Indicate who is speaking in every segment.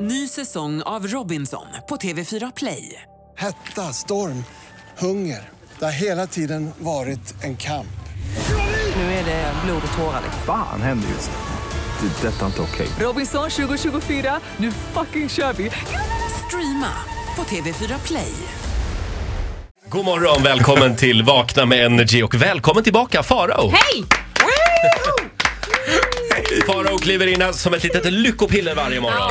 Speaker 1: Ny säsong av Robinson på TV4 Play.
Speaker 2: Hetta, storm, hunger. Det har hela tiden varit en kamp.
Speaker 1: Nu är det blod och tårar. liksom?
Speaker 3: Fan händer just nu. Det. är Detta är inte okej.
Speaker 1: Robinson 2024, nu fucking kör vi! Streama på TV4 Play.
Speaker 4: God morgon, välkommen till Vakna med Energy och välkommen tillbaka Farao!
Speaker 5: Hej!
Speaker 4: Farao kliver in här som ett litet lyckopiller varje morgon.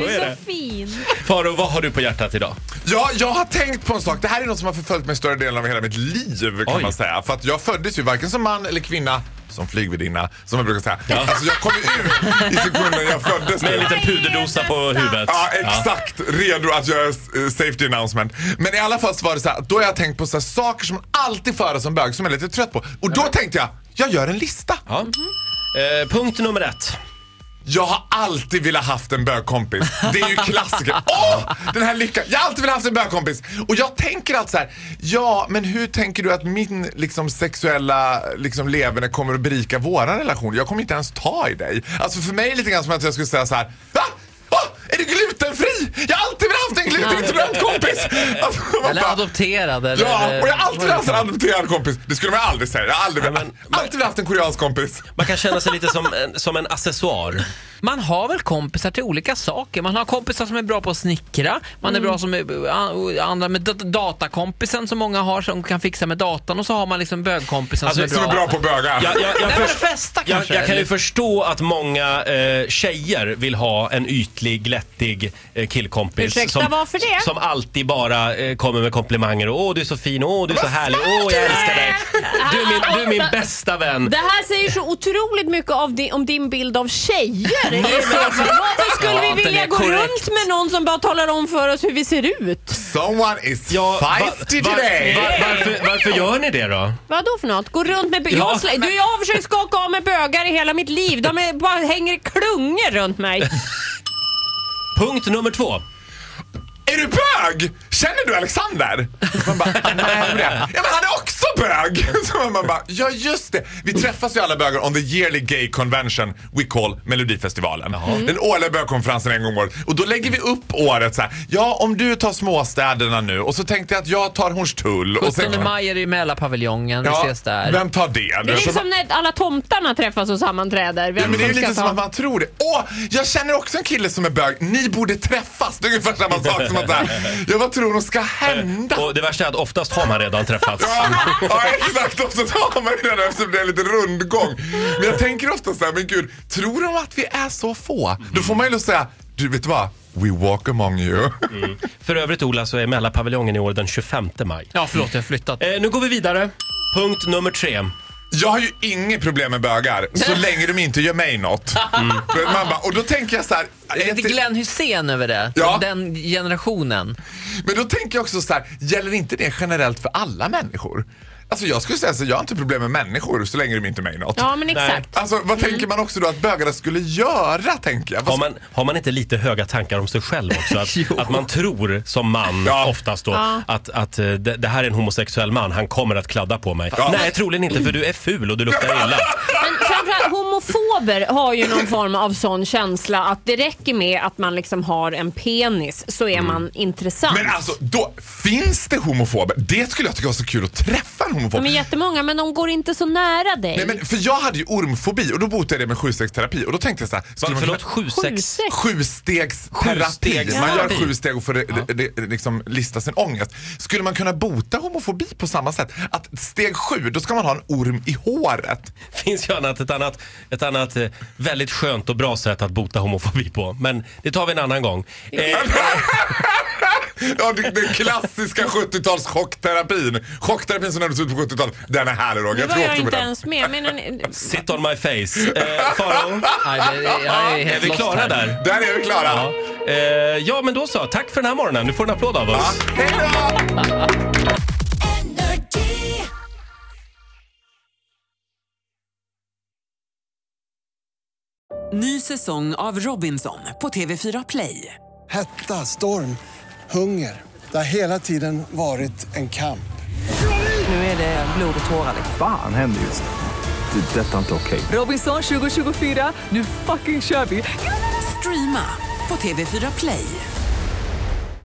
Speaker 5: Du
Speaker 4: är
Speaker 5: är
Speaker 4: det.
Speaker 5: så fin.
Speaker 4: Farao, vad har du på hjärtat idag?
Speaker 6: Ja, jag har tänkt på en sak. Det här är något som har förföljt mig större delen av hela mitt liv kan
Speaker 4: Oj.
Speaker 6: man säga. För att jag föddes ju varken som man eller kvinna, som flygvärdinna, som jag brukar säga. Alltså jag kom ju ut i sekunden jag föddes.
Speaker 4: Med en
Speaker 6: nu.
Speaker 4: liten puderdosa på huvudet.
Speaker 6: Ja, exakt. Redo att göra eh, safety announcement. Men i alla fall så var det så här, då har jag tänkt på så här, saker som man alltid får höra som bög som jag är lite trött på. Och då tänkte jag, jag gör en lista.
Speaker 4: Ja. Eh, punkt nummer ett.
Speaker 6: Jag har alltid velat haft en bögkompis. Det är ju klassiker. Åh! Den här lyckan. Jag har alltid velat haft en bögkompis. Och jag tänker alltid så här. Ja, men hur tänker du att min liksom, sexuella liksom, leverne kommer att berika våran relation? Jag kommer inte ens ta i dig. Alltså för mig är det lite grann som att jag skulle säga så här. Va? Va? Är du glutenfri? Jag har alltid velat haft en glutenintolerant kompis. Alltså, man
Speaker 7: Eller
Speaker 6: bara-
Speaker 7: adopterad eller...
Speaker 6: Ja, och jag har alltid velat ha en adopterad kompis. Det skulle man aldrig säga. Jag har aldrig,
Speaker 4: men-
Speaker 6: alltid velat haft en koreansk kompis.
Speaker 4: Man kan känna sig lite som en, som en accessoar.
Speaker 7: Man har väl kompisar till olika saker. Man har kompisar som är bra på att snickra, man är bra som är, an- andra med dat- datakompisen som många har som kan fixa med datan och så har man liksom bögkompisen
Speaker 4: Alltså,
Speaker 7: som
Speaker 6: Som
Speaker 7: är
Speaker 6: är
Speaker 7: bra.
Speaker 6: bra på bögar.
Speaker 4: Jag, jag, jag,
Speaker 7: Nej, men
Speaker 4: förs-
Speaker 7: festa
Speaker 4: jag,
Speaker 7: kanske.
Speaker 4: jag kan ju
Speaker 7: eller?
Speaker 4: förstå att många eh, tjejer vill ha en ytlig, glättig eh, killkompis.
Speaker 5: Ursäkta, varför det?
Speaker 4: Som alltid bara eh, kommer med komplimanger. och, Åh, du är så fin. Åh, du är så härlig. Åh, jag älskar dig. Du är min, du är min bästa vän.
Speaker 5: Det här säger så otroligt mycket av din, om din bild av tjejer. Varför skulle
Speaker 7: Ja,
Speaker 5: vi vilja
Speaker 7: den är
Speaker 5: gå
Speaker 7: korrekt.
Speaker 5: runt med någon som bara talar om för oss hur vi ser ut?
Speaker 6: Someone is
Speaker 4: Ja, va-
Speaker 6: 50
Speaker 4: va-
Speaker 6: today!
Speaker 4: va- varför, varför gör ni det då?
Speaker 5: Vad då för något? Gå runt med bö-
Speaker 4: Ja,
Speaker 5: jag, slä- du, jag har försökt skaka av mig bögar i hela mitt liv. De är, bara hänger i klungor runt mig.
Speaker 4: Punkt nummer två.
Speaker 6: Är du bög? Känner du Alexander? Man bara, nej men det är han." Ja men han är också bög! Så man bara, ja just det. Vi träffas ju alla bögar on the yearly gay convention we call Melodifestivalen. Den årliga bögkonferensen en gång om året. Och då lägger vi upp året så här. ja om du tar småstäderna nu och så tänkte jag att jag tar Hornstull. och sen-
Speaker 7: 17 maj är det ju Mälarpaviljongen, vi ses där.
Speaker 6: vem tar det?
Speaker 5: Det är
Speaker 6: Så man-
Speaker 5: liksom när alla tomtarna träffas och sammanträder. Vem
Speaker 6: Ja, men det är
Speaker 5: som ska
Speaker 6: lite som
Speaker 5: ta-
Speaker 6: att man tror det. Åh, jag känner också en kille som är bög. Ni borde träffas. Det är ungefär samma sak som att så här, jag vad tror de ska hända?
Speaker 4: Och det värsta är att oftast har man redan träffats.
Speaker 6: Ja, ja, exakt. Ofta tar man ju den eftersom det är en liten rundgång. Men jag tänker ofta så här, men gud, tror de att vi är så få? Då får man ju lust att säga, du vet vad? We walk among you.
Speaker 5: Mm.
Speaker 4: För övrigt Ola så är Mälarpaviljongen i år den 25 maj.
Speaker 7: Ja, förlåt, jag har flyttat.
Speaker 4: Eh, nu går vi vidare. Punkt nummer tre.
Speaker 6: Jag har ju inget problem med bögar så länge de inte gör mig något.
Speaker 5: Mm.
Speaker 6: Men Man bara, och då tänker jag så här.
Speaker 7: Det är lite Glenn Hussein över det,
Speaker 6: Ja.
Speaker 7: den generationen.
Speaker 6: Men då tänker jag också så här, gäller inte det generellt för alla människor? Alltså jag skulle säga så jag har inte problem med människor så länge de inte är mig något.
Speaker 5: Ja, men Mm. exakt.
Speaker 6: Alltså vad tänker man också då att bögarna skulle göra tänker jag? Vad
Speaker 4: Har man, har man inte lite höga tankar om sig själv också? Att, att man tror som man
Speaker 6: Ja.
Speaker 4: oftast då att, att eh, det, det här är en homosexuell man, han kommer att kladda på mig.
Speaker 6: Ja.
Speaker 4: Nej, troligen inte för du är ful och du luktar illa.
Speaker 5: Men framförallt homofober har ju någon form av sån känsla att det räcker med att man liksom har en penis så är man intressant.
Speaker 6: Mm. Men alltså, då, finns det homofober? Det skulle jag tycka var så kul att träffa en homofob.
Speaker 5: De är jättemånga men de går inte så nära dig.
Speaker 6: Nej, men, för jag hade ju ormfobi och då botade jag det med sjustegsterapi och då tänkte jag så här,
Speaker 4: Va,
Speaker 6: skulle man
Speaker 4: förlåt,
Speaker 6: kunna-
Speaker 4: sju,
Speaker 5: Sju,
Speaker 4: sex?
Speaker 5: sex.
Speaker 6: Sjustegsterapi.
Speaker 4: Sjustegsterapi.
Speaker 6: Man gör sju steg och får det, det, det, liksom lista sin ångest. Skulle man kunna bota homofobi på samma sätt? Att steg sju, då ska man ha en orm i håret.
Speaker 4: finns ju annat, ett annat, ett annat eh, väldigt skönt och bra sätt att bota homofobi på. Men det tar vi en annan gång. Eh,
Speaker 6: Ja, det- den klassiska 70-tals chockterapin. Chockterapin som nämndes ut på 70-talet. Den är härlig Roger.
Speaker 5: Nu var
Speaker 6: tror
Speaker 5: jag
Speaker 6: också på
Speaker 5: inte
Speaker 6: den.
Speaker 5: ens med. Men eh, en,
Speaker 4: sit on my face. Eh, Faro,
Speaker 7: Nej, det- jag
Speaker 4: är
Speaker 7: helt
Speaker 4: vi
Speaker 7: lost
Speaker 4: klara
Speaker 7: här.
Speaker 4: där?
Speaker 6: Där är vi klara.
Speaker 4: Ja. Eh, ja, men då så. Tack för den här morgonen. Du får en applåd av oss.
Speaker 6: Hej då!
Speaker 1: Ny säsong av Robinson på TV4 Play.
Speaker 2: Hetta, storm, hunger. Det har hela tiden varit en kamp.
Speaker 1: Nu är det blod och tårar.
Speaker 3: Fan händer just nu. det. är Detta är inte okej.
Speaker 1: Robinson 2024, nu fucking kör vi! Streama Streama på TV4 Play.